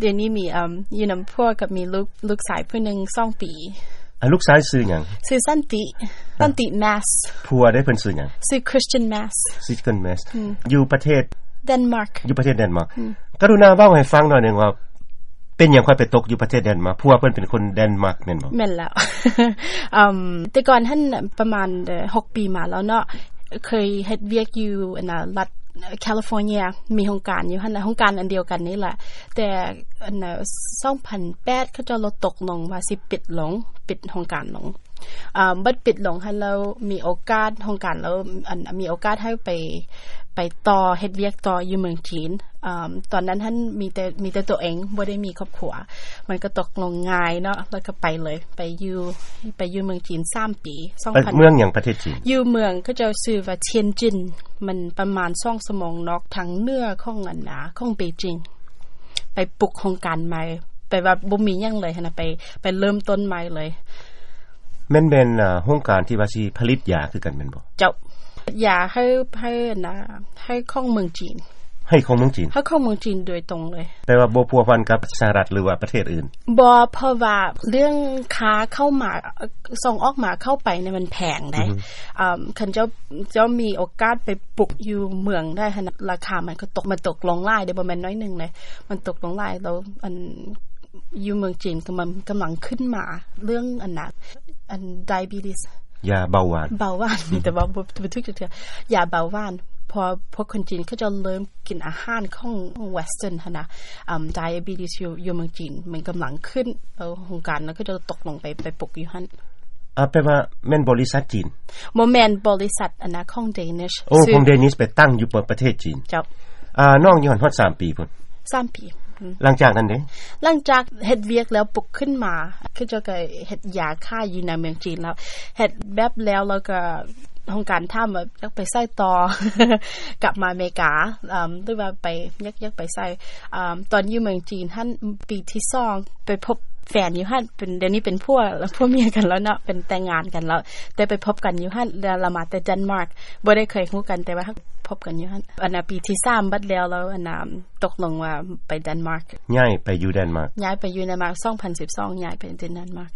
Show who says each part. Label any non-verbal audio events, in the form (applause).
Speaker 1: เดี๋ยวนี้มีอืมอยู่นำพวกกับมีลูกลูกสายผู้หนึงสองปี
Speaker 2: อันลูกชายซื้อหยัง
Speaker 1: ชื่อสันติสันติ Mass
Speaker 2: ผัวได้เพิ่นซื้อหยัง
Speaker 1: ชื่อ Christian Mass
Speaker 2: Second Mass อยู่ประเทศ
Speaker 1: Denmark
Speaker 2: อยู่ประเทศเดนมาร์กกรุณาเว้าให้ฟังหน่อยหนึงว่า เป็นหยังค่อยไปตกอยู่ประเทศเดนมาร์กผัวเพิ่นเป็นคนเดนมาร์กแม่นบ่
Speaker 1: แม่นแล้ว (laughs) อืมแต่ก่อนท่านประมาณเอ่อ6ปีมาแล้วเนาะ เคยเฮ็ดเวียกอยู่อันน่ะรัฐแคลิฟอร์เนีย มีโครงการอยู่หั่นน่ะโครงการอันเดียวกันนี่แหละ แต่อันน่ะ2008เขาเจะลดตกลงว่าสิปิดลง ปิดโครงการลงอ่าบัดปิดลงหั่นแล้วมีโอกาสโครงการแล้วอันมีโอกาสให้ไป ไปต่อเฮ็ดเวียกต่ออยู่เมืองจีนอ่าตอนนั้นท่านมีแต่มีแต่ตัวเองบ่ได้มีครอบครัว มันก็ตกลงง่ายเนาะ แล้วก็ไปเลย ไปอยู่ไปอยู่เมืองจีน3ปี
Speaker 2: ไป
Speaker 1: 2000
Speaker 2: เมืองหยังประเทศจีน
Speaker 1: อยู่เมืองก็จะชื่อว่าเทียนจิน มันประมาณ2องสมองนอกทางเหนื้อของอันหนาของเปจิง ไปปลุกโครงการใหม่ ไปว่าบ่มีหยังเลยหั้นน่ะไปไปเริ่มต้นใหม่เลย
Speaker 2: แม่นแม่นอ่าโครงการที่ว่าสิผลิตยาคือกันแม่นบ่
Speaker 1: เจ้าอย่าให้ให้นะให้ของเมืองจีน
Speaker 2: ให้ของเมืองจีน
Speaker 1: ให้ของเมืองจีนโดยตรงเลย
Speaker 2: แปลว่าบ่พัวพันกับสหรัฐหรือว่าประเทศอื่น
Speaker 1: บอเพราะว่าเรื่องค้าเข้ามาเอ่อส่งออกมาเข้าไปเนี่ยมันแพงได้อ่าคันเจ้าเจ้ามีโอกาสไปปลุกอยู่เมืองได้ขนาดราคามันก็ตกมันตกลงหลายเด้บ่แม่นน้อยหนึงเลยมันตกลงหลายแล้วอันอยู่เมืองจีนก็มันกำลังขึ้นมาเรื่องอันน่ะอัน diabetes
Speaker 2: ยาเบาหวาน
Speaker 1: เบาหวานมีแต่ว่าบ่บ่ทุกจุดเทื่อยาเบาหวาน พอพวกคนจีนเขาจะเริ่มกินอาหารของเวสเทิร์นหั่นน่ะอืม diabetes อยู่อยู่เมืองจีน มันกำลังขึ้นแล้วโครงการแล้วก็จะตกลงไปไปปลุกอยู่หั่น
Speaker 2: อ่าแปลว่าแม่นบริษัทจีน
Speaker 1: บ่แม่นบริษัทอันนะของ Danish
Speaker 2: โอ้
Speaker 1: ซื้อ
Speaker 2: ของเดนิสไปตั้งอยู่ประเทศจีน
Speaker 1: เจ้า
Speaker 2: อ่าน้องย้อนฮอด3ปีพุ่น
Speaker 1: สามปีอืม
Speaker 2: หลังจากนั้นเด้
Speaker 1: หลังจากเฮ็ดเวียกแล้วปลุกขึ้นมาคือจะก็เฮ็ดยาค่าอยู่ในเมืองจีนแล้วเฮ็ดแบบแล้วแล้วก็โครงการทำว่าอยากไปใส่ต่อ (laughs) กลับมาอเมริกาอืมหรือว่าไปยักยักไปใส่อืมตอนอยู่เมืองจีนท่านปีที่สองไปพบแฟนอยู่ฮั่นเป็นเดี๋ยวนี้เป็นพวกพวกเมียกันแล้วเนาะเป็นแต่งงานกันแล้ว แต่ไปพบกันอยู่ฮั่นแล้วเรามาแต่เดนมาร์กบ่ได้เคยรู้กันแต่ว่าพบกันอยู่ฮั่นอันน่ะปีที่สามบัดแล้วแล้วอันน่ะตกลงว่าไปเดนมาร์ก
Speaker 2: ย้ายไปอยู่เดนมาร์ก
Speaker 1: ย้ายไปอยู่ในมาร์ก2012ย้ายไปเดนมาร์ก